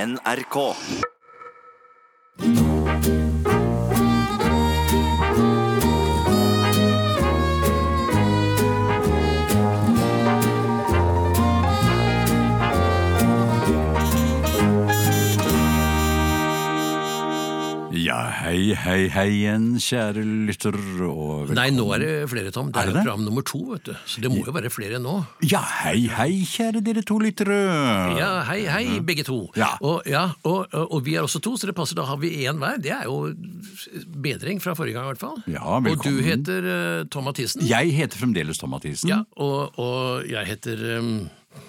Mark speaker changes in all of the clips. Speaker 1: NRK.
Speaker 2: Ja, hei, hei, hei igjen, kjære lytter og vel-
Speaker 3: Nei, nå er det flere, Tom. Det
Speaker 2: Er
Speaker 3: er,
Speaker 2: det
Speaker 3: jo
Speaker 2: det?
Speaker 3: program nummer to, vet du. Så det må jo være flere nå.
Speaker 2: Ja, hei, hei, kjære dere to lyttere.
Speaker 3: Ja, hei, hei, begge to.
Speaker 2: Mm. Ja.
Speaker 3: Og, ja, og, og vi er også to, så det passer. Da har vi én hver. Det er jo bedring fra forrige gang, i hvert fall.
Speaker 2: Ja,
Speaker 3: og du
Speaker 2: velkommen.
Speaker 3: heter eh, Tom Mathisen.
Speaker 2: Jeg heter fremdeles Tom Mathisen.
Speaker 3: Ja, og, og jeg heter eh,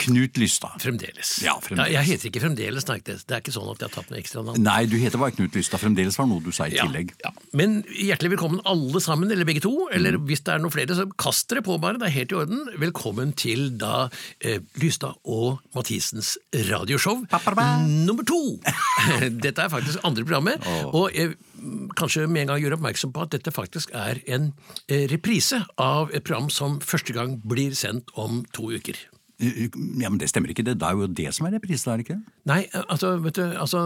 Speaker 2: Knut Lystad.
Speaker 3: Fremdeles.
Speaker 2: Ja, fremdeles.
Speaker 3: jeg heter ikke Fremdeles, nei. Det det er ikke sånn at jeg har tatt noe ekstra navn.
Speaker 2: Nei, du heter bare Knut Lystad fremdeles, var noe du sa i
Speaker 3: Ja,
Speaker 2: tillegg.
Speaker 3: ja. Men hjertelig velkommen alle sammen, eller begge to.
Speaker 2: Mm.
Speaker 3: Eller hvis det er noen flere, så kast dere på bare. Det er helt i orden. Velkommen til da eh, Lystad og Mathisens radioshow
Speaker 2: Pappa.
Speaker 3: nummer to. dette er faktisk andre programmet. Og jeg mm, kanskje med en gang gjøre oppmerksom på at dette faktisk er en eh, reprise av et program som første gang blir sendt om to uker.
Speaker 2: Eh, Ja, men det stemmer ikke, det Det er jo det som er reprise, er det ikke?
Speaker 3: Nei, altså, vet du, altså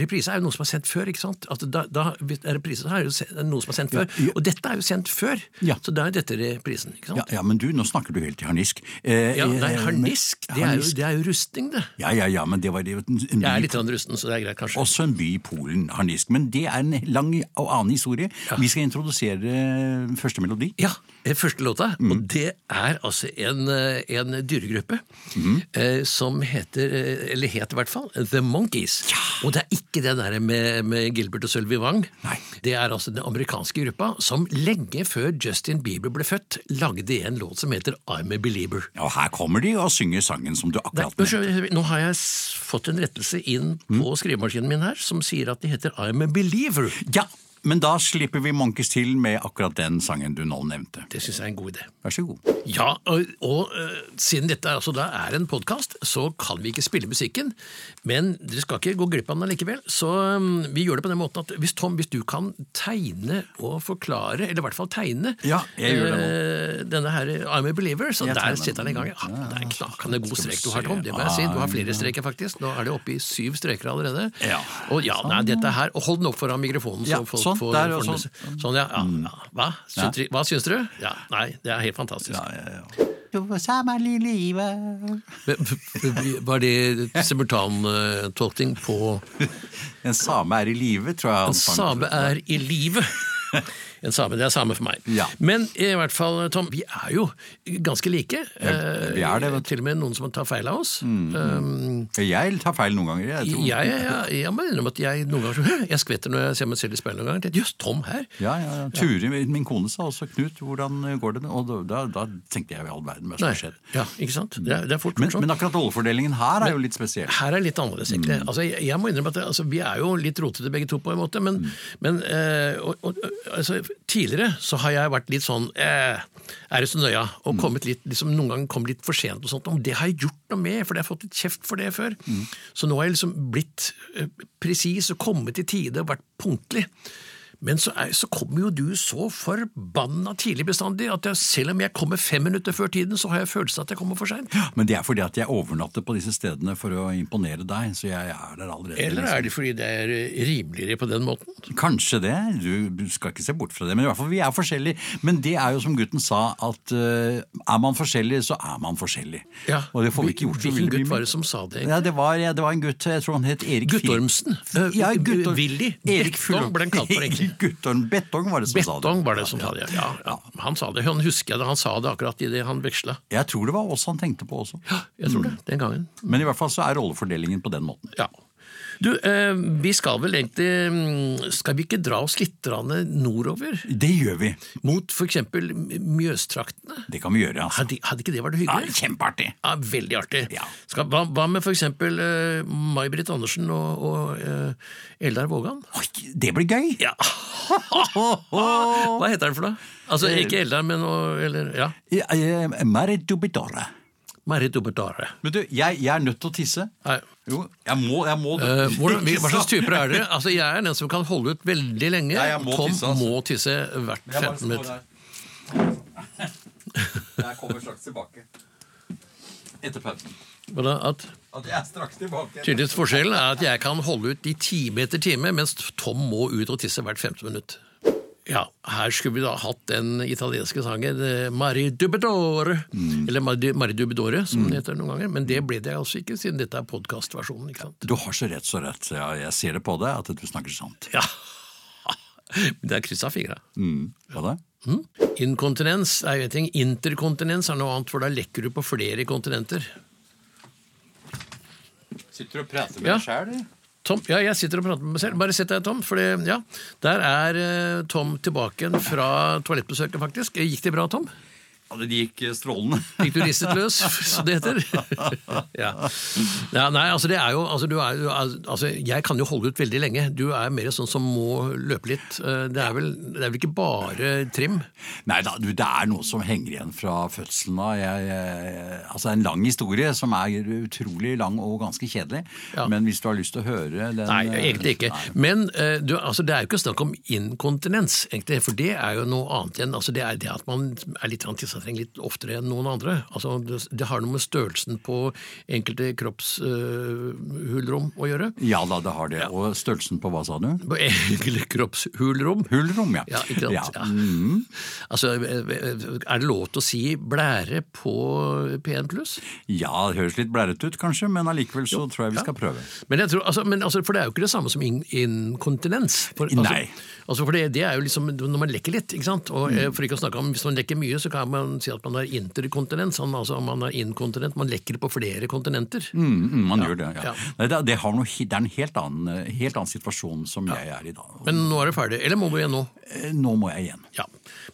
Speaker 3: reprise er jo noe som er sendt før, ikke sant? Altså, da, da, hvis det er reprise så er det jo se- noe som er sendt før, og dette er jo sendt før,
Speaker 2: Ja.
Speaker 3: så da er dette reprisen, ikke
Speaker 2: Ja,
Speaker 3: sant?
Speaker 2: ja, men du, nå snakker du helt i harnisk. Eh,
Speaker 3: Ja, nei,
Speaker 2: eh,
Speaker 3: harnisk, det er, jo,
Speaker 2: harnisk.
Speaker 3: det er jo rustning, det.
Speaker 2: Ja, ja, ja, men det var det en en
Speaker 3: Jeg er
Speaker 2: by,
Speaker 3: litt sånn rusten, så det er greit, kanskje.
Speaker 2: også en by i Polen, harnisk. Men det er en lang og annen historie. Vi skal introdusere eh, første melodi.
Speaker 3: Ja, eh, første låta, og det er altså en, eh, en dyregruppe eh, som heter, eh, eller het i hvert fall, The Monkeys. Og det er ikke det der med, med Gilbert og Sølvi Wang.
Speaker 2: Nei.
Speaker 3: Det er altså den amerikanske gruppa som lenge før Justin Bieber ble født, lagde en låt som heter I'm a Believer.
Speaker 2: Og her kommer de og synger sangen som du
Speaker 3: Nei,
Speaker 2: akkurat
Speaker 3: nå skjø- nå har jeg s- fått en rettelse inn på skrivemaskinen min her, som sier at de heter I'm a Believer.
Speaker 2: Ja, men da slipper vi Monkeys til med akkurat den sangen du nå nevnte.
Speaker 3: Det syns jeg er en god idé.
Speaker 2: Vær så god.
Speaker 3: Ja, og, og eh, siden dette altså da er en podkast, så kan vi ikke spille musikken. Men dere skal ikke gå glipp av den allikevel. Så eh, vi gjør det på den måten at hvis Tom, hvis du kan tegne og forklare, eller i hvert fall tegne
Speaker 2: Ja, jeg gjør det
Speaker 3: eh, denne her I'm a Believer, så
Speaker 2: Jeg tegner
Speaker 3: der
Speaker 2: den.
Speaker 3: sitter den i gang. Ja, det er en knakende god
Speaker 2: Skal vi
Speaker 3: strek du har, Tom. Det må
Speaker 2: se. Ah,
Speaker 3: jeg si. Du har
Speaker 2: Ja.
Speaker 3: flere streker, faktisk. Nå er det oppe i syv streker allerede.
Speaker 2: Ja. Sånn.
Speaker 3: Og ja, nei, dette her Og hold den opp foran mikrofonen, så
Speaker 2: Ja,
Speaker 3: folk
Speaker 2: sånn,
Speaker 3: får
Speaker 2: der og
Speaker 3: får den-
Speaker 2: sånn.
Speaker 3: Sånn, ja. ja, ja. Hva? Syns, dere- Hva syns dere? Ja, nei, det er helt fantastisk. Var det simultantolkning på
Speaker 2: En same er i live, tror jeg. han sang.
Speaker 3: Same er i livet? En same, det er same for meg.
Speaker 2: Ja.
Speaker 3: Men i hvert fall, Tom, vi er jo ganske like.
Speaker 2: Ja,
Speaker 3: Eh,
Speaker 2: vi er det, vet du.
Speaker 3: Til og med noen som tar feil av oss. Um,
Speaker 2: Jeg tar feil noen ganger. Jeg,
Speaker 3: jeg,
Speaker 2: tror.
Speaker 3: jeg, jeg, jeg må innrømme at jeg noen ganger så- jeg skvetter når jeg ser meg selv i speilet. noen ganger. Jeg tenker, Jøss, Tom her!
Speaker 2: Ja, ja, ja. Turi, min kone, sa også 'Knut, hvordan eh, går det?' med-" Og da, da tenkte jeg i all verden hva som
Speaker 3: Nei,
Speaker 2: har skjedd.
Speaker 3: ja, ikke sant? Det er, det er fort
Speaker 2: Men,
Speaker 3: gjort sånn.
Speaker 2: men akkurat rollefordelingen her er jo litt spesiell.
Speaker 3: Her er litt annerledes, egentlig. Altså, jeg, jeg må innrømme at det, altså, Vi er jo litt rotete begge to, på en måte. Men, men eh, og, og, altså, tidligere så har jeg vært litt sånn eh, Er det så nøya? Og kommet litt, liksom, noen ganger kommet litt for sent. og sånt, Om det har jeg gjort noe med, for jeg har fått litt kjeft for det før. Så nå har jeg liksom blitt eh, presis og kommet i tide og vært punktlig. Men så, er, så kommer jo du så forbanna tidlig bestandig at jeg, selv om jeg kommer fem minutter før tiden, så har jeg følelsen av at jeg kommer for seint.
Speaker 2: Men det er fordi at jeg overnatter på disse stedene for å imponere deg, så jeg er der allerede.
Speaker 3: Eller er det fordi det er eh, rimeligere på den måten?
Speaker 2: Kanskje det, du, du skal ikke se bort fra det, men i hvert fall vi er forskjellige. Men det er jo som gutten sa, at eh, er man forskjellig, så er man forskjellig. Og det får vi ikke gjort så
Speaker 3: Hvilken
Speaker 2: veldig
Speaker 3: gutt
Speaker 2: mye
Speaker 3: var det som sa det?
Speaker 2: Ja, det, var, ja, det var en gutt, jeg tror han het Erik Fil-
Speaker 3: Guttormsen. Eh,
Speaker 2: Ja,
Speaker 3: eh,
Speaker 2: Guttorm.
Speaker 3: Willy.
Speaker 2: Erik
Speaker 3: Bettong ble han kalt for, egentlig.
Speaker 2: Guttorm Bettong var det som sa det.
Speaker 3: Bettong var det som sa det, ja. ja. Han sa det, han husker jeg det, han sa det akkurat idet han veksla.
Speaker 2: Jeg tror det var oss han tenkte på også.
Speaker 3: Ja, jeg tror det, den gangen.
Speaker 2: Men i hvert fall så er rollefordelingen på den måten.
Speaker 3: Ja. Du, eh, vi skal vel egentlig mm, Skal vi ikke dra oss litt grann nordover?
Speaker 2: Det gjør vi.
Speaker 3: Mot for eksempel Mjøstraktene?
Speaker 2: Det kan vi gjøre, altså.
Speaker 3: Hadde, hadde ikke det vært
Speaker 2: Ja,
Speaker 3: hyggelig?
Speaker 2: kjempeartig.
Speaker 3: Ja, Veldig artig.
Speaker 2: Ja.
Speaker 3: Skal, hva, hva med for eksempel eh, May-Britt Andersen og, og eh, Eldar Vågan?
Speaker 2: Oi, det blir gøy.
Speaker 3: Ja. Hva heter den for noe? Altså, ikke Eldar, men noe- eller, ja.
Speaker 2: Ja, eh, Mare dubidore.
Speaker 3: Marit Obetare.
Speaker 2: Men du, jeg, jeg er nødt til å tisse.
Speaker 3: Nei.
Speaker 2: Jo, jeg må, jeg må det.
Speaker 3: Eh, hvordan, hva slags typer er dere? Altså, jeg er den som kan holde ut veldig lenge.
Speaker 2: Nei, jeg må
Speaker 3: Tom
Speaker 2: tisse, altså.
Speaker 3: må tisse hvert 15 minutt.
Speaker 2: Jeg kommer straks tilbake. Etter pausen.
Speaker 3: Hva da? At
Speaker 2: At jeg er straks tilbake.
Speaker 3: Tydeligvis forskjellen er at jeg kan holde ut i time etter time, mens Tom må ut og tisse hvert femte minutt. Ja, Her skulle vi da hatt den italienske sangen eh, Mari Dubedore.
Speaker 2: Mm.
Speaker 3: Eller Mari, Mari Dubedore, som den heter noen ganger. Men det ble det altså ikke, siden dette er podkastversjonen. ikke sant?
Speaker 2: Du har så rett, så rett. Ja, jeg ser det på deg at du snakker sånn. sant.
Speaker 3: Ja, Men det er kryssa fingra.
Speaker 2: Mm. Hva da?
Speaker 3: Inkontinens er jo en ting. Interkontinens er noe annet, for da lekker du på flere kontinenter.
Speaker 2: Sitter du og prater
Speaker 3: med Ja. deg selv, Tom, ja, jeg sitter og prater med meg selv. Bare sett deg, Tom. For det, ja, der er eh, Tom tilbake igjen fra toalettbesøket, faktisk. Gikk det bra, Tom?
Speaker 2: Ja, det gikk eh, strålende.
Speaker 3: Fikk du ristet løs, som det heter? ja. ja. Nei, altså det er jo altså, du er, jo- altså, Jeg kan jo holde ut veldig lenge. Du er mer sånn som må løpe litt. Eh, Det er vel, det er vel ikke bare trim?
Speaker 2: Nei da, du, det er noe som henger igjen fra fødselen av. Jeg, jeg, altså, det er en lang historie som er utrolig lang og ganske kjedelig.
Speaker 3: Ja.
Speaker 2: Men hvis du har lyst til å høre den
Speaker 3: Nei, egentlig ikke.
Speaker 2: eh, Nei.
Speaker 3: Men eh, du, altså, det er jo ikke snakk om inkontinens, egentlig, for det er jo noe annet igjen. Altså, det er det at man er litt grann tissetrengt litt oftere enn noen andre. Altså, det, det har noe med størrelsen på enkelte kroppshulrom å gjøre.
Speaker 2: Ja da, det har det. Og størrelsen på hva, sa du?
Speaker 3: På enkelte kroppshulrom.
Speaker 2: Hullrom, ja.
Speaker 3: Ja, ikke sant?
Speaker 2: Ja.
Speaker 3: Ja. Altså, er det lov til å si blære på P1 pluss?
Speaker 2: Ja, det høres litt blærete ut kanskje, men allikevel så tror jeg vi skal prøve.
Speaker 3: Men jeg tror, altså, men, altså, for det er jo ikke det samme som in inkontinens. For, altså,
Speaker 2: Nei.
Speaker 3: Altså, for det, det er jo liksom når man lekker litt, ikke sant? Og
Speaker 2: Mm.
Speaker 3: eh, for ikke å snakke om, hvis man lekker mye, så kan man si at man har interkontinens, han- altså man har inkontinent, man lekker på flere kontinenter.
Speaker 2: Mm, mm, man gjør det, ja.
Speaker 3: ja.
Speaker 2: Nei, det, det, har noe, he- det er en helt annen, helt annen situasjon som jeg er i da.
Speaker 3: Men nå er det ferdig. Eller må du igjen nå?
Speaker 2: Eh, Nå må jeg igjen.
Speaker 3: Ja.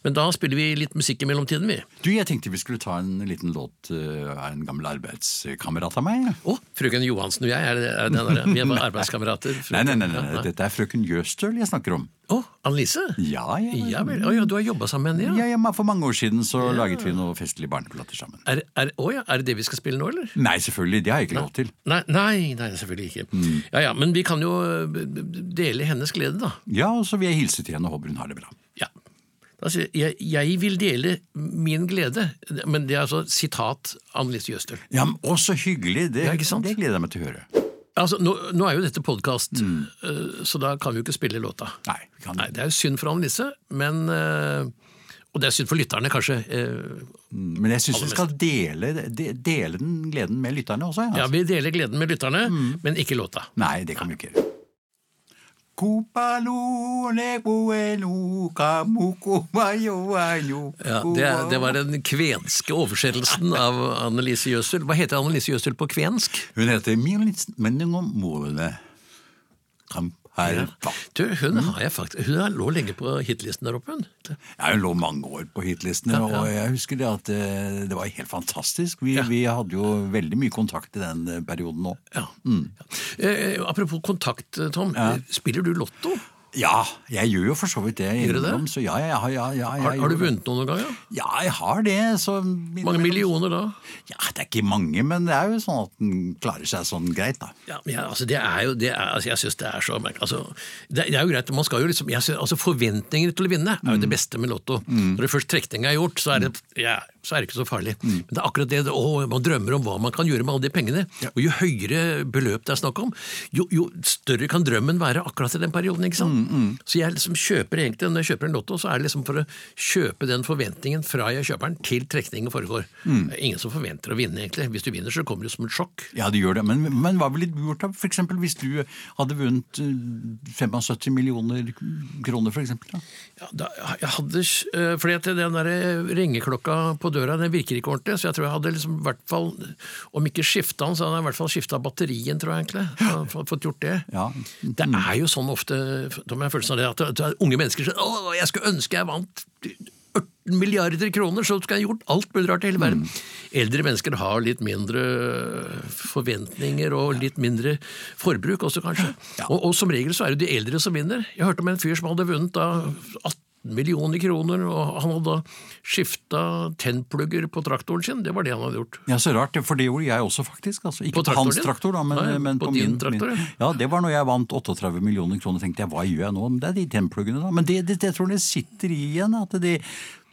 Speaker 3: Men da spiller vi litt musikk i mellomtiden, vi.
Speaker 2: Du, jeg tenkte vi skulle ta en liten låt eh, av en gammel arbeidskamerat av meg.
Speaker 3: Å, frøken Johansen og jeg, er, det- er det den der, vi er bare arbeidskamerater.
Speaker 2: Nei, nei, nei, nei,
Speaker 3: Ja,
Speaker 2: nei. dette er frøken Jøstøl jeg snakker om.
Speaker 3: Å, Annelise?
Speaker 2: Ja, jeg,
Speaker 3: Ja vel. Å ja, du har jobba sammen med henne, ja?
Speaker 2: ja, ja, men for mange år siden så laget vi noen festlige barneplater sammen.
Speaker 3: Er, er, å, ja. er det det vi skal spille nå, eller?
Speaker 2: Nei, selvfølgelig, det har jeg ikke lov til.
Speaker 3: Nei, nei, nei selvfølgelig ikke. Ja, ja, Men vi kan jo eh, b- b- dele hennes glede, da.
Speaker 2: Ja, og så vil jeg hilse til henne og håper hun har det bra.
Speaker 3: Ja. Da sier jeg, jeg jeg vil dele min glede, men det er altså sitat Annelise Jøstøl.
Speaker 2: Ja, men å, så hyggelig, det,
Speaker 3: Ja, ikke sant?
Speaker 2: det gleder jeg meg til å høre.
Speaker 3: Altså, nå, nå er jo dette podkast, så da kan vi jo ikke spille låta.
Speaker 2: Nei, vi kan
Speaker 3: Nei, Det er jo synd for Annelise, men eh, Og det er synd for lytterne, kanskje. eh,
Speaker 2: Men jeg syns vi skal dele, de, dele den gleden med lytterne også. ja,
Speaker 3: Ja,
Speaker 2: Altså.
Speaker 3: Vi deler gleden med lytterne, men ikke låta.
Speaker 2: Nei, det kan vi ikke gjøre. Kupalone, kuelu, kamuku, mayo, ayo,
Speaker 3: Ja, det, er- det var den kvenske oversettelsen av Annelise Jøstøl. Hva heter Annelise Jøstøl på kvensk?
Speaker 2: Hun heter Militz Menningomolene Kamperva.
Speaker 3: Du, hun har jeg faktisk Hun har lå lenge på hitlisten der oppe, hun.
Speaker 2: Mm. Ja, hun lå mange år på hitlistene, og jeg husker det at eh, det var helt fantastisk. Vi, vi hadde jo veldig mye kontakt i den eh, perioden nå.
Speaker 3: Ja.
Speaker 2: Mm.
Speaker 3: Ja. Eh, apropos kontakt, eh, Tom. Spiller du lotto?
Speaker 2: Ja, jeg gjør jo for så vidt det
Speaker 3: du det?
Speaker 2: innimellom. Så ja, ja, ja, ja, ja, jeg
Speaker 3: Har, har du
Speaker 2: gjør-
Speaker 3: vunnet noen gang? Ja?
Speaker 2: Ja, jeg har det. Så
Speaker 3: Mange millioner da?
Speaker 2: Ja, det er ikke mange, men det er jo sånn at den klarer seg sånn greit, da.
Speaker 3: Ja, men jeg, altså, det er jo, det er, altså, jeg syns det er så merkelig. Altså, det, det er jo greit, man skal jo liksom, jeg synes, altså, Forventninger til å vinne er jo det beste med lotto. Når det først trekninga er gjort, så er, det, ja, så er det ikke så farlig. Men det er akkurat det, det å, man drømmer om hva man kan gjøre med alle de pengene. Og jo høyere beløp det er snakk om, jo, jo større kan drømmen være akkurat i den perioden. ikke sant? Så jeg liksom kjøper egentlig, når jeg kjøper en lotto, så er det liksom for å kjøpe den forventningen fra jeg kjøper den, til trekningen foregår. Det er Ingen som forventer å vinne, egentlig. Hvis du vinner, så kommer det som et sjokk.
Speaker 2: Ja, det gjør det. Men, men hva ville du gjort da? For eksempel hvis du hadde vunnet eh, 75 millioner kroner, for eksempel? Da?
Speaker 3: Ja, da, jeg hadde, eh, fordi at den der ringeklokka på døra den virker ikke ordentlig, så jeg tror jeg hadde liksom i hvert fall, om ikke skifta den, så hadde jeg i hvert fall skifta batterien, tror jeg egentlig. Så hadde jeg fått- Fått gjort det.
Speaker 2: Ja.
Speaker 3: Det er jo sånn ofte, Tom, jeg har følelsen av det, at det- det er unge mennesker som Å, jeg skulle ønske jeg vant 18 milliarder kroner, så skulle jeg gjort alt mulig rart i hele verden. Eldre mennesker har litt mindre forventninger og litt mindre forbruk også, kanskje. Og, og som regel så er det de eldre som vinner. Jeg hørte om en fyr som hadde vunnet da 18 millioner kroner, og han hadde da skifta tennplugger på traktoren sin. Det var det han hadde gjort.
Speaker 2: Ja, så rart. For det gjorde jeg også, faktisk. Altså, ikke
Speaker 3: På
Speaker 2: på,
Speaker 3: traktoren
Speaker 2: hans
Speaker 3: din?
Speaker 2: traktor, da, men,
Speaker 3: Nei,
Speaker 2: men
Speaker 3: på
Speaker 2: på,
Speaker 3: din
Speaker 2: min.
Speaker 3: traktor, ja.
Speaker 2: min. Ja, Det var når jeg vant 38 millioner kroner. tenkte jeg, hva gjør jeg nå? Men Det er de tennpluggene, da. Men det, det, det tror jeg det sitter i igjen. at de,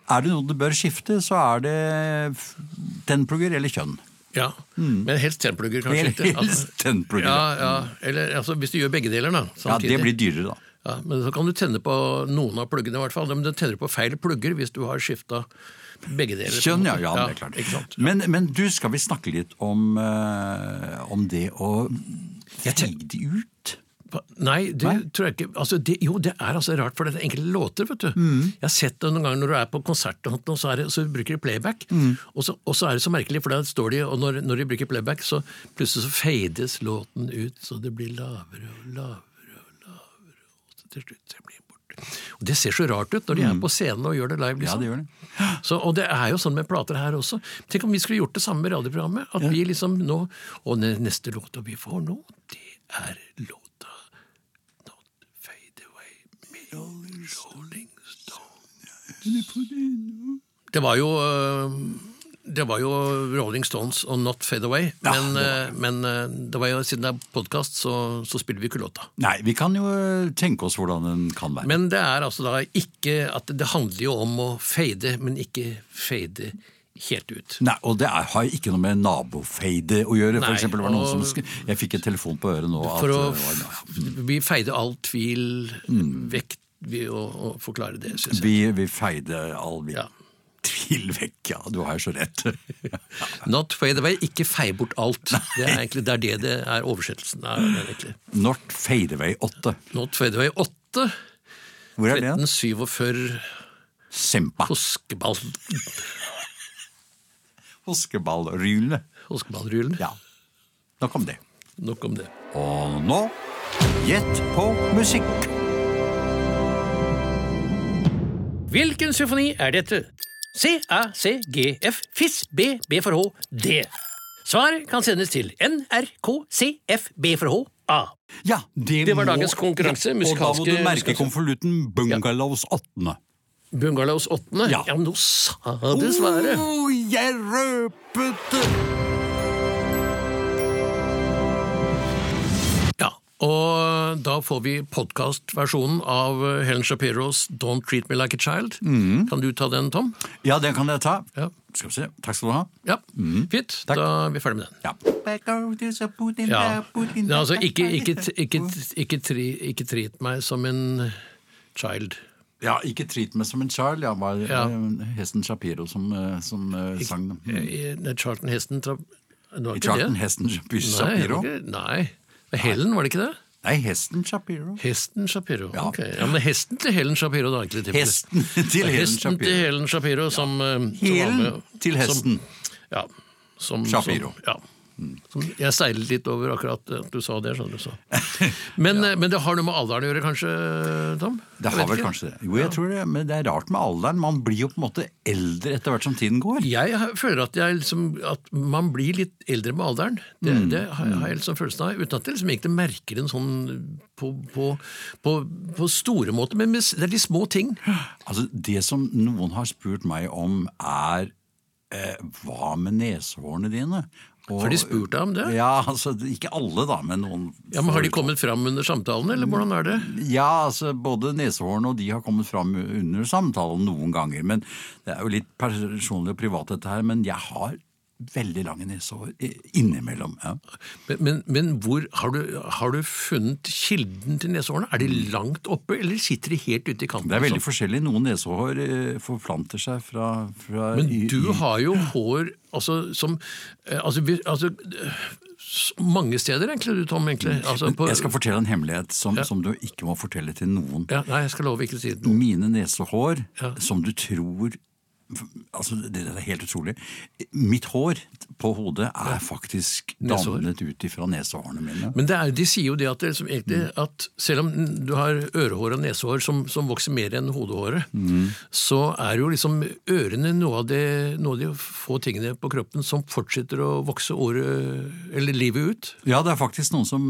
Speaker 2: Er det noe du bør skifte, så er det f- tennplugger eller kjønn.
Speaker 3: Ja, Men helst tennplugger, kanskje.
Speaker 2: Helst
Speaker 3: ikke? Altså,
Speaker 2: tennplugger.
Speaker 3: Ja, ja. Eller altså, hvis du gjør begge deler, da.
Speaker 2: Ja,
Speaker 3: Samtidig.
Speaker 2: Det blir dyrere, da.
Speaker 3: Ja, men så kan du tenne på noen av pluggene, i hvert fall. Men du tenner på feil plugger hvis du har skifta begge deler. på en
Speaker 2: Skjønn, ja.
Speaker 3: måte.
Speaker 2: ja, det er klart.
Speaker 3: Ikke sant?
Speaker 2: Men, men du, skal vi snakke litt om, eh, om det å tegne det ut?
Speaker 3: Pa- Nei, det
Speaker 2: Nei?
Speaker 3: tror jeg ikke altså, det, Jo, det er altså rart, for det er enkelte låter, vet du.
Speaker 2: Mm.
Speaker 3: Jeg har sett det noen ganger når du er på konsert, og sånt, og så, er det, så bruker de playback.
Speaker 2: Mm.
Speaker 3: Og, så, og så er det så merkelig, for der står de, og når, når de bruker playback, så plutselig så fades låten ut, så det blir lavere og lavere og lavere, og så til slutt så blir den borte. Og det ser så rart ut når de er på scenen og gjør det live,
Speaker 2: Mm. Ja,
Speaker 3: liksom.
Speaker 2: det gjør det.
Speaker 3: Så, og det er jo sånn med plater her også. Tenk om vi skulle gjort det samme med radioprogrammet. At vi liksom nå Og ne- neste låta vi får nå, det er låta Not Fade Away med Rolling Stones. Det var jo øh, det var jo Rolling Stones og Not Fade Away.
Speaker 2: Ja,
Speaker 3: Men,
Speaker 2: det
Speaker 3: øh, men øh, det var jo, siden det er podkast, så, så spiller vi ikke låta.
Speaker 2: Nei, vi kan jo eh, tenke oss hvordan den kan være.
Speaker 3: Men det er altså da ikke at Det handler jo om å fade, men ikke fade helt ut.
Speaker 2: Nei, Og det er, har ikke noe med nabofeide å gjøre.
Speaker 3: Nei,
Speaker 2: for eksempel, var det noen
Speaker 3: og-
Speaker 2: som sk- Jeg fikk en telefon på øret nå.
Speaker 3: For å,
Speaker 2: eh, det var- ja.
Speaker 3: vi feide all tvil vekk ved å, å forklare det, syns jeg.
Speaker 2: vi, vi feide all vi
Speaker 3: Ja.
Speaker 2: tvil vekk. Ja, du har jo så rett.
Speaker 3: Not fade away, ikke fei bort alt. Det er egentlig det er det, det er oversettelsen er. det er egentlig.
Speaker 2: North Fadeaway 8.
Speaker 3: Not fade away 8,
Speaker 2: Hvor er det?
Speaker 3: 1347
Speaker 2: Sempa.
Speaker 3: hoskeball,
Speaker 2: Hoskeballrylene.
Speaker 3: hoskeballrullen.
Speaker 2: Ja. Nå kom det.
Speaker 3: Nok om det.
Speaker 2: Og nå gjett på musikk.
Speaker 1: Hvilken symfoni er dette? C, A, C, G, F, FIS, B, B for H, D. Svar kan sendes til NRK, C, F, B for H, A.
Speaker 2: Ja, det,
Speaker 3: Det var
Speaker 2: må-
Speaker 3: dagens
Speaker 2: Og
Speaker 3: konkurranse,
Speaker 2: da må du
Speaker 3: musikalske-
Speaker 2: merke konvolutten Bungalows åttende.
Speaker 3: Bungalows åttende?
Speaker 2: Ja.
Speaker 3: ja, men nå sa du svaret!
Speaker 2: Oh, jeg røpet det!
Speaker 3: Ja, og da får vi podkastversjonen av Helen Shapiros Don't Treat Me Like a Child.
Speaker 2: Mm.
Speaker 3: Kan du ta den, Tom?
Speaker 2: Ja, den kan jeg ta.
Speaker 3: Ja.
Speaker 2: Skal vi se. Takk skal du ha.
Speaker 3: Ja,
Speaker 2: Mm.
Speaker 3: Fint. Da er vi ferdig med den.
Speaker 2: Ja.
Speaker 3: Ja. Nei, altså, ikke, ikke, ikke, ikke, tri, ikke treat meg som en child.
Speaker 2: ja, ikke treat meg som en child. Ja, var
Speaker 3: Ja.
Speaker 2: eh, Hesten Shapiro som, eh, som eh, sang den. Mm.
Speaker 3: Eh, eh, Charlton Heston tra... Det var ikke
Speaker 2: Charlton
Speaker 3: det?
Speaker 2: Hesten
Speaker 3: Nei, det
Speaker 2: Shapiro.
Speaker 3: var ikke- Nei. Helen, var det ikke det?
Speaker 2: Nei, Hesten Shapiro.
Speaker 3: Hesten Shapiro.
Speaker 2: Ja.
Speaker 3: Ja. ja, men hesten til Helen Shapiro, da. Ikke det tilfellet.
Speaker 2: Hesten til Helen
Speaker 3: hesten
Speaker 2: Shapiro.
Speaker 3: til Helen Shapiro som, eh, som
Speaker 2: Helen
Speaker 3: var med-
Speaker 2: til hesten.
Speaker 3: Som, ja. Som,
Speaker 2: Shapiro. Mm.
Speaker 3: Som, ja. Som, jeg seilet litt over akkurat at du sa det. skjønner du så. Men, eh, men det har noe med alderen å gjøre, kanskje, Tom?
Speaker 2: Det
Speaker 3: Jeg
Speaker 2: har
Speaker 3: vet
Speaker 2: vel
Speaker 3: ikke.
Speaker 2: kanskje det. Jo, jeg tror det, men det er rart med alderen. Man blir jo på en måte eldre etter hvert som tiden går.
Speaker 3: Jeg har- føler at, jeg liksom, at man blir litt eldre med alderen. Det,
Speaker 2: Mm.
Speaker 3: det har jeg- har jeg liksom følelsen av. Uten at jeg liksom egentlig merker den sånn på, på, på, på store måter. Men med, s- det er de små ting.
Speaker 2: Altså, Det som noen har spurt meg om, er eh, hva med nesehårene dine? Og-
Speaker 3: Har de spurt deg om det?
Speaker 2: Ja, altså, Ikke alle, da, men noen.
Speaker 3: Ja, men Har de kommet fram under samtalen, eller hvordan er det?
Speaker 2: Ja, altså, Både nesehårene og de har kommet fram under samtalen noen ganger. men Det er jo litt personlig og privat, dette her, men jeg har veldig lange nesehår eh, innimellom. ja.
Speaker 3: Men, men, men hvor har du, har du funnet kilden til nesehårene? Er de langt oppe, eller sitter de helt ute i kanten?
Speaker 2: Det er veldig
Speaker 3: sånn?
Speaker 2: forskjellig. Noen nesehår eh, forplanter seg fra, fra
Speaker 3: Men
Speaker 2: i-
Speaker 3: du
Speaker 2: i-
Speaker 3: har jo hår altså, som eh, altså, vi- altså, eh, s- mange steder, egentlig, du, Tom. egentlig. Altså, på,
Speaker 2: Mm. Jeg skal fortelle en hemmelighet som,
Speaker 3: Ja.
Speaker 2: som du ikke må fortelle til noen.
Speaker 3: ja, nei, jeg skal love ikke å si det.
Speaker 2: mine nesehår,
Speaker 3: Ja.
Speaker 2: som du tror Altså, det, det er helt utrolig. Mitt hår på hodet er faktisk
Speaker 3: Nesehår?
Speaker 2: dannet ut ifra nesehårene mine.
Speaker 3: Men det er, de sier jo det at, det, som egentlig,
Speaker 2: Mm.
Speaker 3: at selv om du har ørehår og nesehår som, som vokser mer enn hodehåret,
Speaker 2: Mm.
Speaker 3: så er jo liksom ørene noe av, de, noe av de få tingene på kroppen som fortsetter å vokse året, eller livet ut.
Speaker 2: Ja, det er faktisk noen som,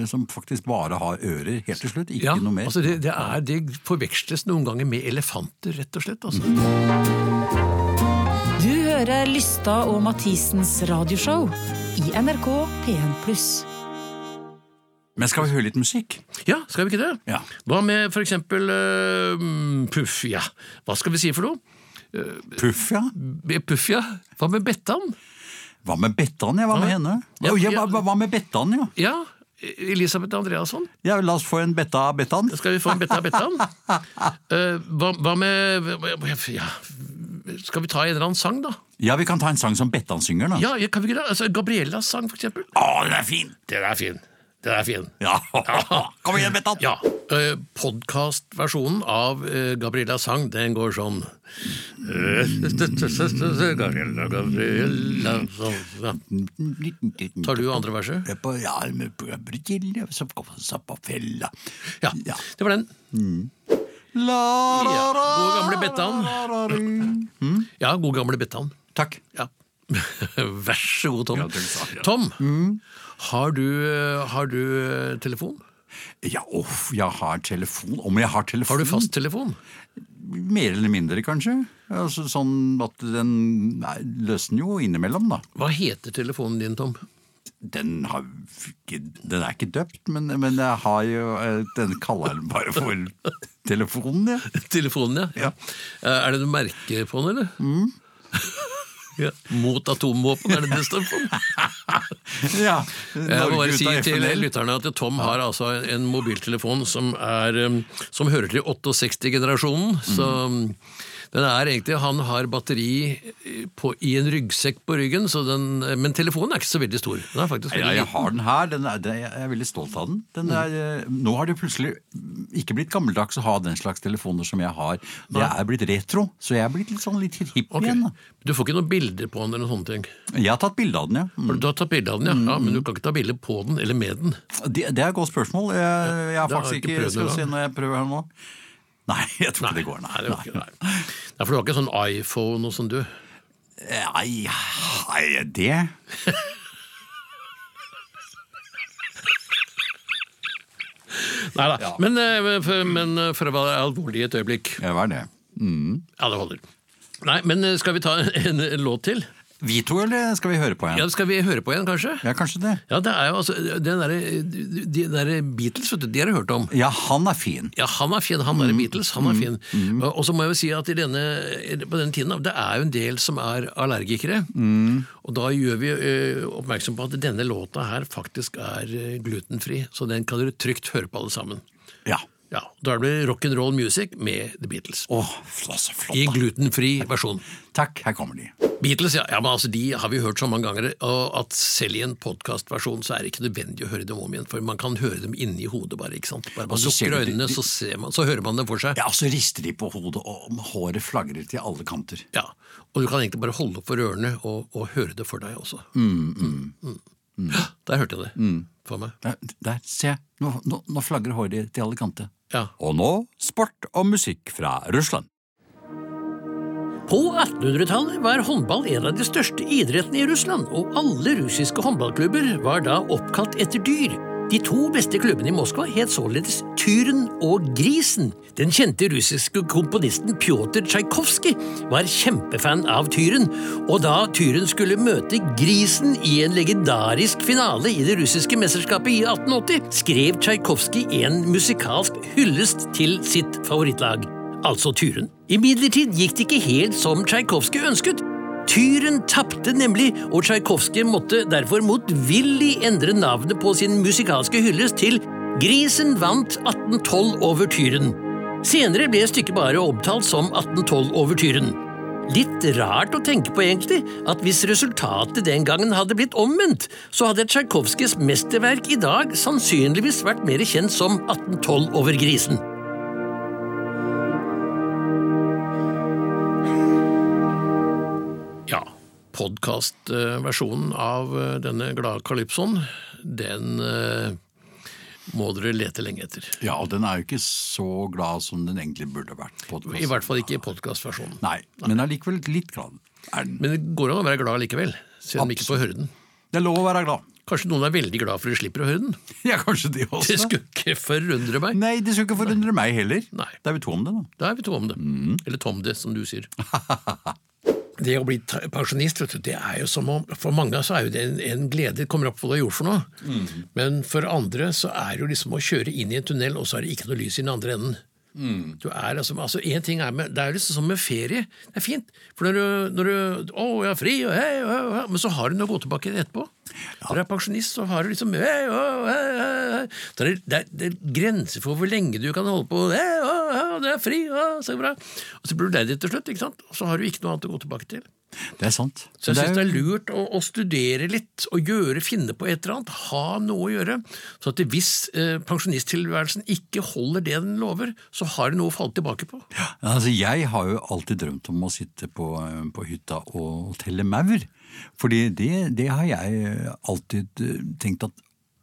Speaker 2: eh, som faktisk bare har ører helt til slutt. Ikke
Speaker 3: Ja,
Speaker 2: noe mer.
Speaker 3: altså det, det, er, det forveksles noen ganger med elefanter, rett og slett. Altså.
Speaker 2: Mm.
Speaker 4: Du hører Lysta og Mathisens radioshow i NRK P1+.
Speaker 2: Men skal vi høre litt musikk?
Speaker 3: Ja, skal vi ikke det?
Speaker 2: Ja.
Speaker 3: Hva med for eksempel eh, Puff, ja. Hva skal vi si for noe?
Speaker 2: Puff, ja.
Speaker 3: Be- Puff, ja. Hva med Bettan?
Speaker 2: Hva med Bettan, ja? Hva med henne?
Speaker 3: Ja,
Speaker 2: Ja,
Speaker 3: ja.
Speaker 2: hva- hva med Bettan, ja?
Speaker 3: Ja, Elisabeth Andreasson.
Speaker 2: ja? La oss få en Betta av Bettan.
Speaker 3: Skal vi få en Betta Bettan? Eh, hva, hva med ja, Skal vi ta en eller annen sang, da?
Speaker 2: Ja, vi kan ta en sang som Bettan synger, da.
Speaker 3: Ja, kan vi ikke det? Altså, Gabriellas sang, for eksempel.
Speaker 2: Å, den er fin!
Speaker 3: Den er fin. Den er fin.
Speaker 2: Ja, Kom igjen, Bettan!
Speaker 3: Ja. eh, Podkastversjonen av eh, Gabriellas sang, den går sånn Eh, Gabriella, Gabriella sånn. ja. Tar du andre verset?
Speaker 2: på armen på Gabrielle, som kommer seg på fella.
Speaker 3: Ja.
Speaker 2: Ja.
Speaker 3: Det var den.
Speaker 2: La, la,
Speaker 3: Ja,
Speaker 2: la,
Speaker 3: god gamle Bettan.
Speaker 2: la, la, la.
Speaker 3: Ja, god gamle Bettan.
Speaker 2: Takk.
Speaker 3: Ja. Vær så god, Tom.
Speaker 2: Ja, den sa jeg.
Speaker 3: Tom, har du, eh, har du eh, telefon?
Speaker 2: Ja, uff, jeg har telefon. Om jeg har telefon?
Speaker 3: Har du fasttelefon?
Speaker 2: Mer eller mindre, kanskje. Altså, sånn at den nei, løsner jo innimellom, da.
Speaker 3: Hva heter telefonen din, Tom?
Speaker 2: Den, har, ikke- den er ikke døpt, men, men jeg har jo eh, Den kaller jeg den bare for telefonen, jeg.
Speaker 3: Telefonen, ja.
Speaker 2: Ja.
Speaker 3: Eh, Er det noe merke på den, eller? ja. Mot atomvåpen, er det det står på den?
Speaker 2: Ja.
Speaker 3: Eh, Jeg må
Speaker 2: Norge
Speaker 3: bare
Speaker 2: ut
Speaker 3: si
Speaker 2: av
Speaker 3: til
Speaker 2: FNL.
Speaker 3: lytterne at Tom har altså en mobiltelefon som, er, um, som hører til 68-generasjonen. Så
Speaker 2: Mm.
Speaker 3: um, den er egentlig Han har batteri eh, på, i en ryggsekk på ryggen, så den, eh, men telefonen er ikke så veldig stor. Den er faktisk
Speaker 2: Ja,
Speaker 3: veldig
Speaker 2: jeg har den her. Den er, det, jeg er veldig stolt av den. den
Speaker 3: Mm.
Speaker 2: er, eh, Nå har det plutselig ikke blitt gammeldags å ha den slags telefoner som jeg har. Det er blitt retro, så jeg er blitt litt, sånn litt hipp
Speaker 3: Ok.
Speaker 2: igjen. Da.
Speaker 3: Du får ikke noen bilder på den? eller noen sånne ting.
Speaker 2: Jeg har tatt bilde av den, ja. Mm.
Speaker 3: Du har tatt bilde av den, ja. ja, men du kan ikke ta bilde på den eller med den.
Speaker 2: Det, det er et godt spørsmål. Jeg, jeg har
Speaker 3: Det har jeg
Speaker 2: faktisk
Speaker 3: ikke
Speaker 2: ikke,
Speaker 3: prøvd
Speaker 2: Skal vi
Speaker 3: noen
Speaker 2: se
Speaker 3: gang.
Speaker 2: når jeg prøver her nå. Nei, jeg tror ikke det går. Nei,
Speaker 3: Nei, det var ikke, nei. Nei, for du har ikke sånn iPhone og sånn, du?
Speaker 2: nei, nei det
Speaker 3: Nei da. Men, eh, for- men eh, for å være alvorlig et øyeblikk.
Speaker 2: Ja, hva er det?
Speaker 3: Ja, det holder. Nei, men eh, skal vi ta en, en låt til?
Speaker 2: Vi to, eller skal vi høre på
Speaker 3: Ja,
Speaker 2: en?
Speaker 3: Skal vi høre på igjen, kanskje?
Speaker 2: Ja, kanskje det.
Speaker 3: Ja, det er jo altså Den derre de derre Beatles, vet du, de har jeg hørt om.
Speaker 2: Ja, han er fin.
Speaker 3: Ja, han er fin. Han er Beatles, han er fin. Og og så må jeg jo si at i denne, på denne tiden, det er jo en del som er allergikere. Og da gjør vi eh, oppmerksom på at denne låta her faktisk er eh, glutenfri. Så den kan dere trygt høre på alle sammen.
Speaker 2: Ja.
Speaker 3: Ja, Da blir det rock'n'roll music med The Beatles.
Speaker 2: Åh, flott, så flott.
Speaker 3: I
Speaker 2: da.
Speaker 3: glutenfri versjon.
Speaker 2: Takk, her kommer de.
Speaker 3: Beatles, ja. ja, men altså De har vi hørt så mange ganger, og at selv i en podkastversjon så er det ikke nødvendig å høre dem om igjen, for man kan høre dem inni hodet, bare. ikke sant? Bare man
Speaker 2: Og så ser
Speaker 3: lukker
Speaker 2: du de-
Speaker 3: øynene,
Speaker 2: de-
Speaker 3: så, ser man, så hører man dem for seg.
Speaker 2: Ja, så rister de på hodet, og håret flagrer til alle kanter.
Speaker 3: Ja, Og du kan egentlig bare holde for ørene og, og høre det for deg også. Mm. Hå, Der hørte jeg det
Speaker 2: Mm.
Speaker 3: for meg.
Speaker 2: Der, der se. Nå, nå, nå flagrer håret til alle kanter.
Speaker 3: Ja.
Speaker 2: Og nå sport og musikk fra Russland.
Speaker 1: På 1800-tallet var håndball en av de største idrettene i Russland, og alle russiske håndballklubber var da oppkalt etter dyr. De to beste klubbene i Moskva het således Tyren og Grisen. Den kjente russiske komponisten Pjotr Tsjajkovskij var kjempefan av Tyren, og da Tyren skulle møte Grisen i en legendarisk finale i det russiske mesterskapet i 1880, skrev Tsjajkovskij en musikalsk hyllest til sitt favorittlag altså Tyren. Imidlertid gikk det ikke helt som Tsjajkovskij ønsket. Tyren tapte nemlig, og Tsjajkovskij måtte derfor motvillig endre navnet på sin musikalske hyllest til Grisen vant 1812 over Tyren. Senere ble stykket bare omtalt som 1812 over Tyren. Litt rart å tenke på, egentlig, at hvis resultatet den gangen hadde blitt omvendt, så hadde Tsjajkovskijs mesterverk i dag sannsynligvis vært mer kjent som 1812 over grisen.
Speaker 3: Ja. Podkastversjonen av eh, denne glade kalypsoen, den eh, må dere lete lenge etter.
Speaker 2: Ja, og den er jo ikke så glad som den egentlig burde vært. På
Speaker 3: I hvert fall ikke i podkastversjonen.
Speaker 2: Nei, men allikevel litt glad. Er den.
Speaker 3: Men det går an å være glad likevel, selv om vi ikke får høre den.
Speaker 2: Det er lov å være glad.
Speaker 3: Kanskje noen er veldig glad for de slipper å høre den.
Speaker 2: Ja, kanskje det også.
Speaker 3: Det skulle ikke forundre meg.
Speaker 2: Nei, det skulle ikke forundre meg heller.
Speaker 3: Nei.
Speaker 2: Det er vi to om det, da.
Speaker 3: Da er vi to om det. Eller tom det, som du sier. Mm. Det å bli ta- pensjonist, vet du, det er jo som om For mange så er jo det en, en glede. Det kommer opp på hva du har gjort for noe. Men for andre så er det jo liksom å kjøre inn i en tunnel, og så er det ikke noe lys i den andre enden. Du er altså, altså en ting er med, Det er jo liksom som med ferie. Det er fint. For når du, når du 'Å, jeg er fri', og hei, å, å, men så har du noe å gå tilbake til etterpå. Når du er pensjonist, så har du liksom hei, å, hei, hei, hei. Så er det, det, er, det er grenser for hvor lenge du kan holde på. Hei, å, å, det er fri, å, så bra. Og så blir du lei deg til slutt, ikke sant? og så har du ikke noe annet å gå tilbake til.
Speaker 2: Det er sant.
Speaker 3: Så jeg
Speaker 2: Det er
Speaker 3: syns
Speaker 2: jo-
Speaker 3: det er lurt å, å studere litt, og gjøre, finne på et eller annet, ha noe å gjøre. Så at hvis eh, pensjonisttilværelsen ikke holder det den lover, så har du noe å falle tilbake på.
Speaker 2: Altså, jeg har jo alltid drømt om å sitte på, eh, på hytta og telle maur. Fordi det, det har jeg alltid eh, tenkt at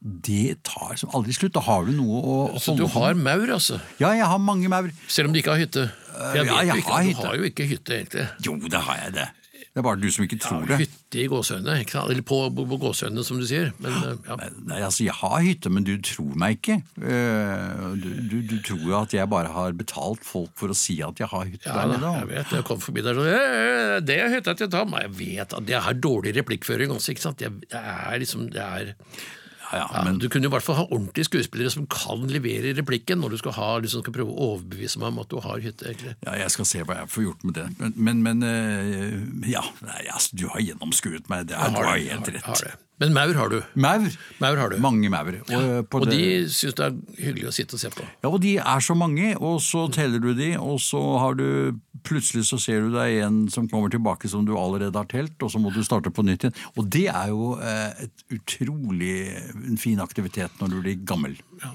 Speaker 2: det tar som aldri slutt. Da har du noe å
Speaker 3: Så du
Speaker 2: holde på
Speaker 3: har maur, altså.
Speaker 2: Ja, jeg har mange maur.
Speaker 3: Selv om du ikke har hytte. For
Speaker 2: Eh, ja,
Speaker 3: vet jo
Speaker 2: jeg
Speaker 3: ikke,
Speaker 2: har
Speaker 3: du
Speaker 2: hytte.
Speaker 3: har jo ikke hytte, egentlig.
Speaker 2: Jo, det har jeg det. Det er bare du som ikke tror det.
Speaker 3: Hytte i gåsehøyne, ikke sant? eller på, på, på gåsehøyne, som du sier. Men, eh, ja.
Speaker 2: Nei, altså, Jeg har hytte, men du tror meg ikke. Eh, Du, du, du tror jo at jeg bare har betalt folk for å si at jeg har hytte
Speaker 3: Ja,
Speaker 2: der
Speaker 3: da,
Speaker 2: nede.
Speaker 3: jeg vet, jeg kom forbi der sånn «Øh, Det er hytta til Tom. Jeg vet at jeg har dårlig replikkføring også, ikke sant. Jeg, det er liksom, det er
Speaker 2: Ja, ja,
Speaker 3: Ja,
Speaker 2: men,
Speaker 3: Du kunne i hvert fall ha ordentlige skuespillere som kan levere replikken når du skal, ha, liksom, skal prøve å overbevise meg om at du har hytte. egentlig.
Speaker 2: Ja, jeg skal se hva jeg får gjort med det. Men, men, men eh, ja, nei, altså, du har gjennomskuet meg. Det er, du har
Speaker 3: det,
Speaker 2: helt
Speaker 3: det,
Speaker 2: rett.
Speaker 3: har det. Men maur har du.
Speaker 2: Maur.
Speaker 3: Maur har du.
Speaker 2: Mange maur. Og, eh, på
Speaker 3: Og
Speaker 2: det-
Speaker 3: de syns det er hyggelig å sitte og se på.
Speaker 2: ja, og de er så mange, og så teller du de, og så har du plutselig så ser du deg en som kommer tilbake som du allerede har telt, og så må du starte på nytt igjen. Og det er jo eh, et utrolig en fin aktivitet når du blir gammel.
Speaker 3: Ja.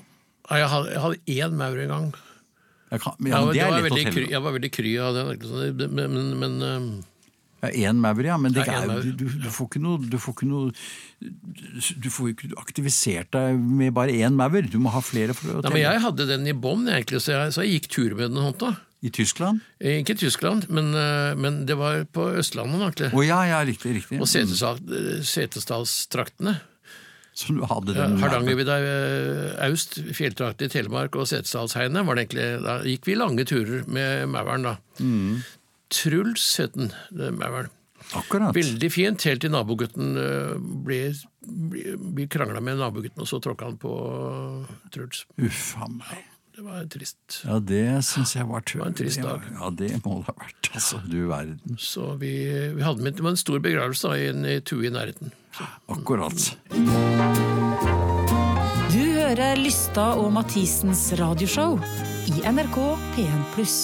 Speaker 3: Ja, Jeg hadde, jeg hadde én maur en gang.
Speaker 2: Jeg kan, ja, men
Speaker 3: jeg,
Speaker 2: det er
Speaker 3: var
Speaker 2: lett å
Speaker 3: veldig
Speaker 2: telle.
Speaker 3: kry, jeg var veldig kry av den. ikke sant? Det- Men, men, men øhm,
Speaker 2: Ja, Én maur, ja, men det
Speaker 3: Ja,
Speaker 2: er,
Speaker 3: en
Speaker 2: jo-
Speaker 3: maur.
Speaker 2: du, du, du får ikke noe Du får ikke noe Du får ikke aktivisert deg med bare én maur. Du må ha flere for å
Speaker 3: nei, men jeg hadde den i bånn, egentlig, så jeg, så jeg gikk tur med den i hånda.
Speaker 2: I Tyskland?
Speaker 3: Ikke i Tyskland, men, øh, men det var på Østlandet. egentlig.
Speaker 2: Å ja, ja, riktig. riktig.
Speaker 3: Og Setesdal- Setesdalstraktene.
Speaker 2: Så du hadde
Speaker 3: Ja,
Speaker 2: den
Speaker 3: Hardangervidda eh, Aust, fjelltrakt i Telemark og Setesdalsheiene var det egentlig Da gikk vi lange turer med mauren, da. Truls het den, den mauren.
Speaker 2: Akkurat.
Speaker 3: Veldig fint, helt til nabogutten eh, ble, ble, ble krangla med nabogutten, og så tråkka han på Truls.
Speaker 2: Uff a meg.
Speaker 3: Det var trist.
Speaker 2: Ja, det syns jeg var tøft.
Speaker 3: var en trist dag.
Speaker 2: Ja, det må det ha vært. Altså, du verden.
Speaker 3: Så vi, vi hadde med, det var en stor begravelse da, i en i tue i nærheten.
Speaker 2: Akkurat.
Speaker 4: Du hører Lystad og Mathisens radioshow i NRK P1+.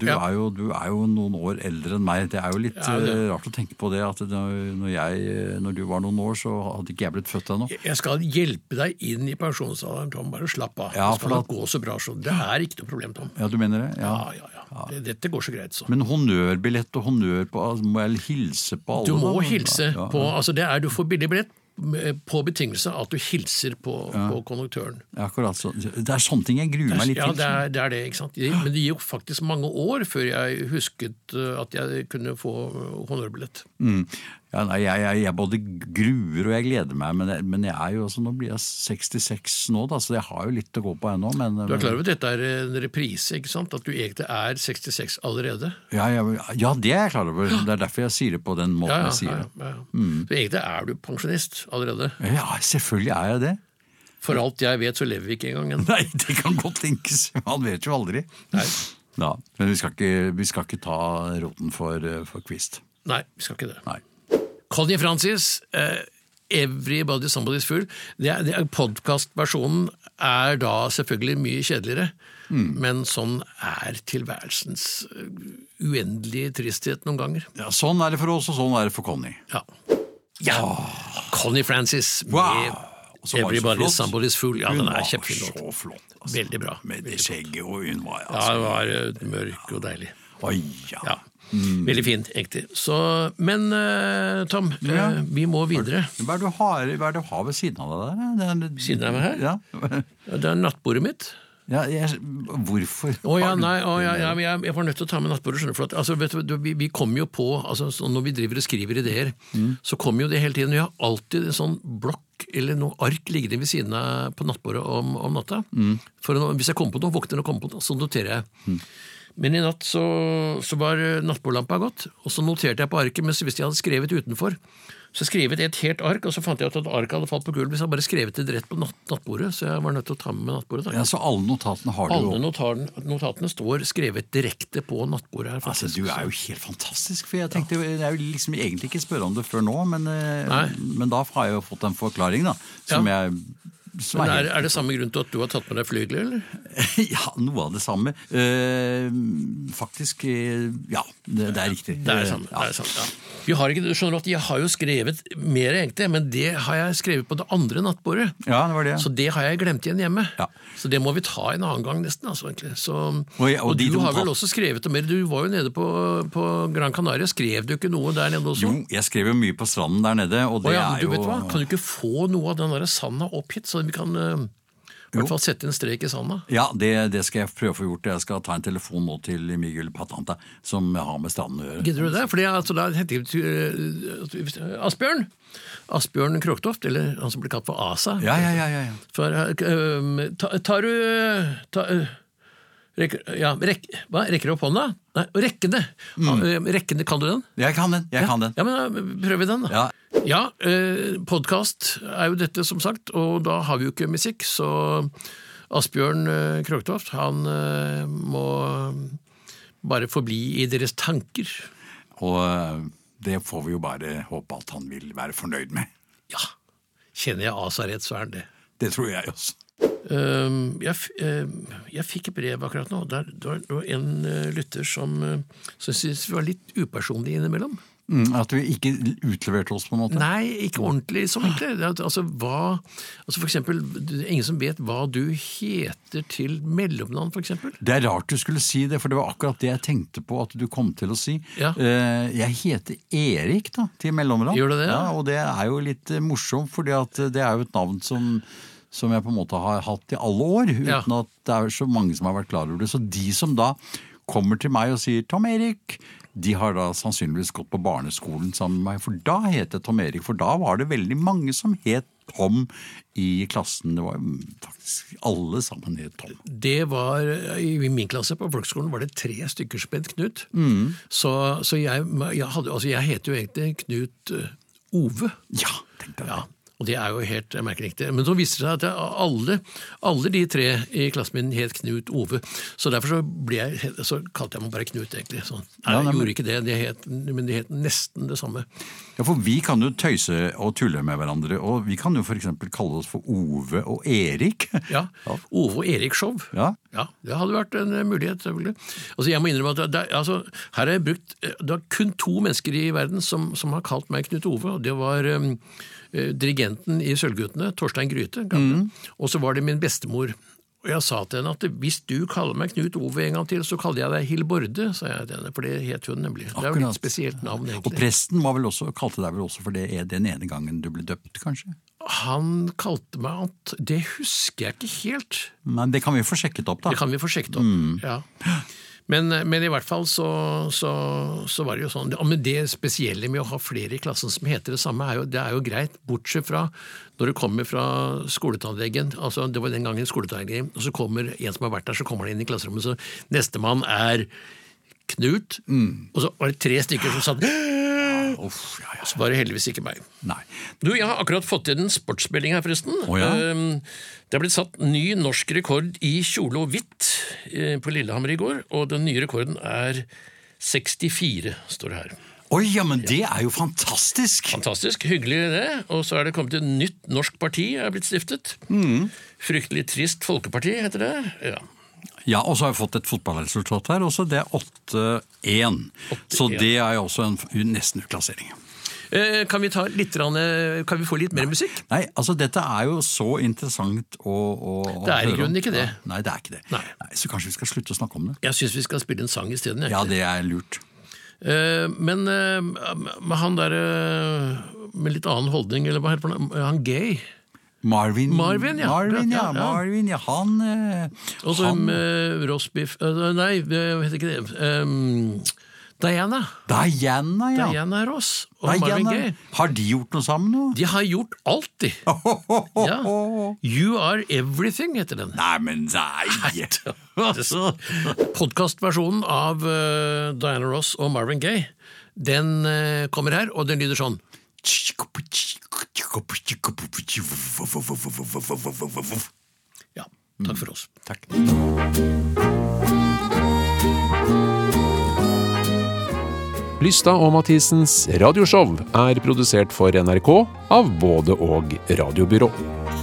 Speaker 2: Du,
Speaker 3: Ja.
Speaker 2: er jo, du er jo noen år eldre enn meg. Det er jo litt
Speaker 3: Ja, det-
Speaker 2: eh, rart å tenke på det. At når, når, jeg, eh, når du var noen år, så hadde ikke jeg blitt født ennå.
Speaker 3: Jeg skal hjelpe deg inn i pensjonsalderen, Tom. Bare slapp av.
Speaker 2: Ja,
Speaker 3: det
Speaker 2: for
Speaker 3: skal nok
Speaker 2: da-
Speaker 3: gå så bra. Så det er ikke noe problem, Tom.
Speaker 2: Ja, du mener det?
Speaker 3: Ja, ja, ja. Det- Dette går så greit, så.
Speaker 2: Men honnørbillett og honnør på altså, Må jeg hilse på alle?
Speaker 3: Du må
Speaker 2: da?
Speaker 3: hilse
Speaker 2: Ja,
Speaker 3: på altså det er, Du får billig billett eh, på betingelse av at du hilser på, på konduktøren.
Speaker 2: ja, Akkurat så. Det er sånne ting jeg gruer meg litt
Speaker 3: Ja, det
Speaker 2: til.
Speaker 3: er, det er det, ikke sant. Det- Men det gikk faktisk mange år før jeg husket eh, at jeg kunne få eh, honnørbillett.
Speaker 2: Mm. Ja, nei, jeg, jeg, jeg både gruer og jeg gleder meg, men, jeg- men jeg er jo også, nå blir jeg 66 nå, da, så jeg har jo litt å gå på ennå. Men,
Speaker 3: Du er klar over at dette er en reprise, ikke sant? At du egentlig er 66 allerede?
Speaker 2: Ja, ja, ja, det er jeg klar over. Det er derfor jeg sier det på den måten
Speaker 3: Ja, ja.
Speaker 2: jeg sier
Speaker 3: ja,
Speaker 2: det. Mm.
Speaker 3: ja. Så egentlig er du pensjonist allerede.
Speaker 2: Ja, selvfølgelig er jeg det.
Speaker 3: For alt jeg vet, så lever vi ikke engang ennå.
Speaker 2: Nei, det kan godt tenkes. Man vet jo aldri.
Speaker 3: Nei.
Speaker 2: Ja, men vi skal ikke, vi skal ikke ta roten for, eh, for Kvist.
Speaker 3: Nei, vi skal ikke det.
Speaker 2: Nei.
Speaker 3: Connie Francis, eh, 'Everybody Somebody's Fool'. Det er- det er- Podkastversjonen er da selvfølgelig mye kjedeligere,
Speaker 2: Mm.
Speaker 3: men sånn er tilværelsens eh, uendelige tristhet noen ganger.
Speaker 2: Ja, sånn er det for oss, og sånn er det for Conny.
Speaker 3: Ja. Connie Francis med
Speaker 2: Wow! Og så var det så
Speaker 3: 'Everybody
Speaker 2: flott.
Speaker 3: Somebody's Fool'. Ja,
Speaker 2: hun
Speaker 3: den er
Speaker 2: var
Speaker 3: kjempefin låt.
Speaker 2: så flott. altså.
Speaker 3: Veldig bra.
Speaker 2: Med det skjegget, og hun var
Speaker 3: Ja,
Speaker 2: altså.
Speaker 3: den var eh, mørk og deilig.
Speaker 2: Oi, ja.
Speaker 3: Ja.
Speaker 2: Mm.
Speaker 3: Veldig fin, egentlig. Så, men eh, Tom, eh,
Speaker 2: Ja.
Speaker 3: vi må videre.
Speaker 2: Hva er det du har, hva er det du har ved siden av deg der? Det er-
Speaker 3: Siden av meg her?
Speaker 2: Ja.
Speaker 3: Det er nattbordet mitt.
Speaker 2: ja jeg, hvorfor?
Speaker 3: Å ja,
Speaker 2: har du-
Speaker 3: nei, å, ja, ja, men jeg, jeg var nødt til å ta med nattbordet. skjønner du, for at, altså, vet du, vi, vi kommer jo på, altså, så Når vi driver og skriver ideer,
Speaker 2: Mm.
Speaker 3: så kommer jo det hele tiden. Vi har alltid en sånn blokk eller noe ark liggende ved siden av på nattbordet om, om natta.
Speaker 2: Mm.
Speaker 3: For nå- Hvis jeg kommer på noe, våkner og kommer på noe, så noterer jeg. Men i natt så, så var eh, nattbordlampa gått, og så noterte jeg på arket, men så hvis jeg hadde skrevet utenfor, Så skrevet et helt ark, og så fant jeg ut at arket hadde falt på gulvet. Så jeg hadde bare skrevet det rett på natt, nattbordet, så jeg var nødt til å ta med meg nattbordet. Da.
Speaker 2: Ja, så alle notatene har du jo.
Speaker 3: Alle notar, notatene står skrevet direkte på nattbordet her.
Speaker 2: Altså,
Speaker 3: faktisk.
Speaker 2: Du er jo helt fantastisk. for Jeg tenkte, jeg vil liksom egentlig ikke spørre om det før nå, men, eh,
Speaker 3: Nei.
Speaker 2: men da har jeg jo fått en forklaring da, som
Speaker 3: Ja.
Speaker 2: jeg som
Speaker 3: Men
Speaker 2: er,
Speaker 3: er, er det samme grunn til at du har tatt med deg flygler, eller?
Speaker 2: ja, noe av det samme. Eh, faktisk eh, Ja, det, det er riktig.
Speaker 3: Det er det samme.
Speaker 2: Ja.
Speaker 3: Det er det samme ja. Vi har ikke, du skjønner at Jeg har jo skrevet mer, egentlig, men det har jeg skrevet på det andre nattbordet.
Speaker 2: Ja, det var det.
Speaker 3: Så det har jeg glemt igjen hjemme.
Speaker 2: Ja.
Speaker 3: Så det må vi ta en annen gang, nesten. altså egentlig. Så, og,
Speaker 2: ja, og
Speaker 3: du
Speaker 2: de
Speaker 3: har
Speaker 2: notat-
Speaker 3: vel også skrevet det mer? Du var jo nede på, på Gran Canaria. Skrev du ikke noe der nede også?
Speaker 2: Jo, jeg skrev jo mye på stranden der nede, og det
Speaker 3: Å ja, men
Speaker 2: er jo
Speaker 3: du vet hva? Kan du ikke få noe av den der sanda opp hit, så vi kan eh, i hvert fall sette en strek i sanda?
Speaker 2: Ja, det, det skal jeg prøve å få gjort. Jeg skal ta en telefon nå til Miguel Patanta, som har med stranden å gjøre.
Speaker 3: Gidder du det? Fordi altså, da heter det eh, Asbjørn! Asbjørn Kråktoft, eller han som ble kalt for Asa.
Speaker 2: Ja, ja, ja, ja, ja.
Speaker 3: For, eh, ta, tar du ta, eh, rekker, ja, rekk, hva? rekker du opp hånda? Nei, rekkende.
Speaker 2: Mm.
Speaker 3: Eh, rekkende, kan du den?
Speaker 2: Jeg kan den! Jeg kan den.
Speaker 3: Ja, men da prøver vi den, da.
Speaker 2: Ja.
Speaker 3: Ja, eh, podkast er jo dette, som sagt, og da har vi jo ikke musikk, så Asbjørn eh, Krogtoft, han eh, må bare forbli i deres tanker.
Speaker 2: Og eh, det får vi jo bare håpe at han vil være fornøyd med.
Speaker 3: Ja, kjenner jeg Asa rett, så er han det.
Speaker 2: Det tror jeg også.
Speaker 3: Ehm, jeg, f- ehm, jeg fikk et brev akkurat nå. Der, det var- det var en eh, lytter som uh, syntes vi var litt upersonlige innimellom.
Speaker 2: Mm, at vi ikke utleverte oss, på en måte.
Speaker 3: Nei, ikke ordentlig som egentlig. Det er at, Altså, hva, altså for eksempel, det er ingen som vet hva du heter til mellomnavn, for eksempel.
Speaker 2: Det er rart du skulle si det, for det var akkurat det jeg tenkte på at du kom til å si.
Speaker 3: Ja.
Speaker 2: Eh, Jeg heter Erik, da, til mellomnavn.
Speaker 3: Gjør du det, ja?
Speaker 2: Ja, og det er jo litt eh, morsomt, for det er jo et navn som som jeg på en måte har hatt i alle år, uten
Speaker 3: Ja.
Speaker 2: at det er så mange som har vært klar over det. Så de som da kommer til meg og sier 'Tom Erik', de har da sannsynligvis gått på barneskolen sammen med meg, for da het jeg Tom Erik. For da var det veldig mange som het Tom i klassen. Det var jo faktisk alle sammen het Tom.
Speaker 3: Det var, eh, I min klasse på folkeskolen var det tre stykker som het Knut. Så, så jeg, jeg, hadde, altså jeg heter jo egentlig Knut eh, Ove.
Speaker 2: Ja, tenk deg det.
Speaker 3: Ja, og det er jo helt merkeriktig. Men så viste det seg at jeg, alle, alle de tre i klassen min het Knut Ove. Så derfor så, ble jeg, så kalte jeg meg bare Knut, egentlig. Så, nei,
Speaker 2: Ja, nei,
Speaker 3: jeg
Speaker 2: men-
Speaker 3: gjorde ikke det, de het, men de het nesten det samme.
Speaker 2: Ja, for Vi kan jo tøyse og tulle med hverandre, og vi kan jo f.eks. kalle oss for Ove og Erik.
Speaker 3: Ja, Ove og Erik Show.
Speaker 2: Ja.
Speaker 3: det hadde vært en eh, mulighet. selvfølgelig. Altså, jeg må innrømme at det, er- altså, her har jeg brukt, eh, Det er kun to mennesker i verden som, som har kalt meg Knut Ove. og Det var eh, eh, dirigenten i Sølvguttene, Torstein Grythe. gamle.
Speaker 2: Mm.
Speaker 3: Og så var det min bestemor. Og jeg sa til henne at hvis du kaller meg Knut Ove en gang til, så kaller jeg deg Hilborde, sa jeg til henne. For det het hun nemlig. Det er jo
Speaker 2: Akkurat.
Speaker 3: et litt spesielt navn,
Speaker 2: Og
Speaker 3: egentlig.
Speaker 2: presten var vel også, kalte deg vel også for det den ene gangen du ble døpt, kanskje?
Speaker 3: Han kalte meg at Det husker jeg ikke helt.
Speaker 2: Nei, Det kan vi få sjekket opp, da.
Speaker 3: Det kan vi få sjekket opp. Ja. Men, men i hvert fall så, så, så var det jo sånn. Ja, Men det spesielle med å ha flere i klassen som heter det samme, er jo, det er jo greit, bortsett fra når du kommer fra skoletannlegen. altså Det var den gangen skoletannlegen, og så kommer en som har vært der, så kommer han inn i klasserommet, så nestemann er Knut. Og så var det tre stykker som satt
Speaker 2: Uff, ja, ja.
Speaker 3: Så var det heldigvis ikke meg.
Speaker 2: Nei.
Speaker 3: Du, Jeg har akkurat fått inn en sportsmelding her, forresten.
Speaker 2: Å, ja.
Speaker 3: Ehm, Det er blitt satt ny norsk rekord i kjole og hvitt eh, på Lillehammer i går, og den nye rekorden er 64, står det her.
Speaker 2: Oi, ja, men det er jo fantastisk!
Speaker 3: Fantastisk, hyggelig det. Og så er det kommet et nytt norsk parti er blitt stiftet. Fryktelig trist folkeparti, heter det. Ja.
Speaker 2: Ja, og så har jeg fått et fotballresultat her også. Det er 8-1. Så
Speaker 3: 8-1.
Speaker 2: det er jo også en nesten utklassering.
Speaker 3: Eh, Kan vi, ta litt, grann, eh, kan vi få litt mer musikk?
Speaker 2: Nei, altså dette er jo så interessant å, å, å
Speaker 3: Det er i
Speaker 2: høre om.
Speaker 3: grunnen ikke det.
Speaker 2: Nei, det er ikke det.
Speaker 3: Nei.
Speaker 2: så kanskje vi skal slutte å snakke om det?
Speaker 3: Jeg syns vi skal spille en sang isteden. jeg.
Speaker 2: Ja, det er lurt.
Speaker 3: Eh, Men eh, med han der eh, med litt annen holdning, eller hva heter han, han gay?
Speaker 2: Marvin,
Speaker 3: Marvin, ja.
Speaker 2: Marvin, ja,
Speaker 3: Ja, ja.
Speaker 2: Marvin, ja. Han, eh,
Speaker 3: Og så
Speaker 2: han
Speaker 3: med roastbiff eh, Nei, det heter ikke det. Ehm, Diana.
Speaker 2: Diana, ja.
Speaker 3: Diana Ross og Marvin Gaye.
Speaker 2: Har de gjort noe sammen nå?
Speaker 3: De har gjort alt, de. Ja. You Are Everything heter den.
Speaker 2: Nei, men nei!
Speaker 3: Podkastversjonen av eh, Diana Ross og Marvin Gaye, den eh, kommer her, og den lyder sånn.
Speaker 2: Ja. Takk for oss.
Speaker 3: Takk.
Speaker 5: Lystad og Mathisens radioshow er produsert for NRK av både og radiobyrå.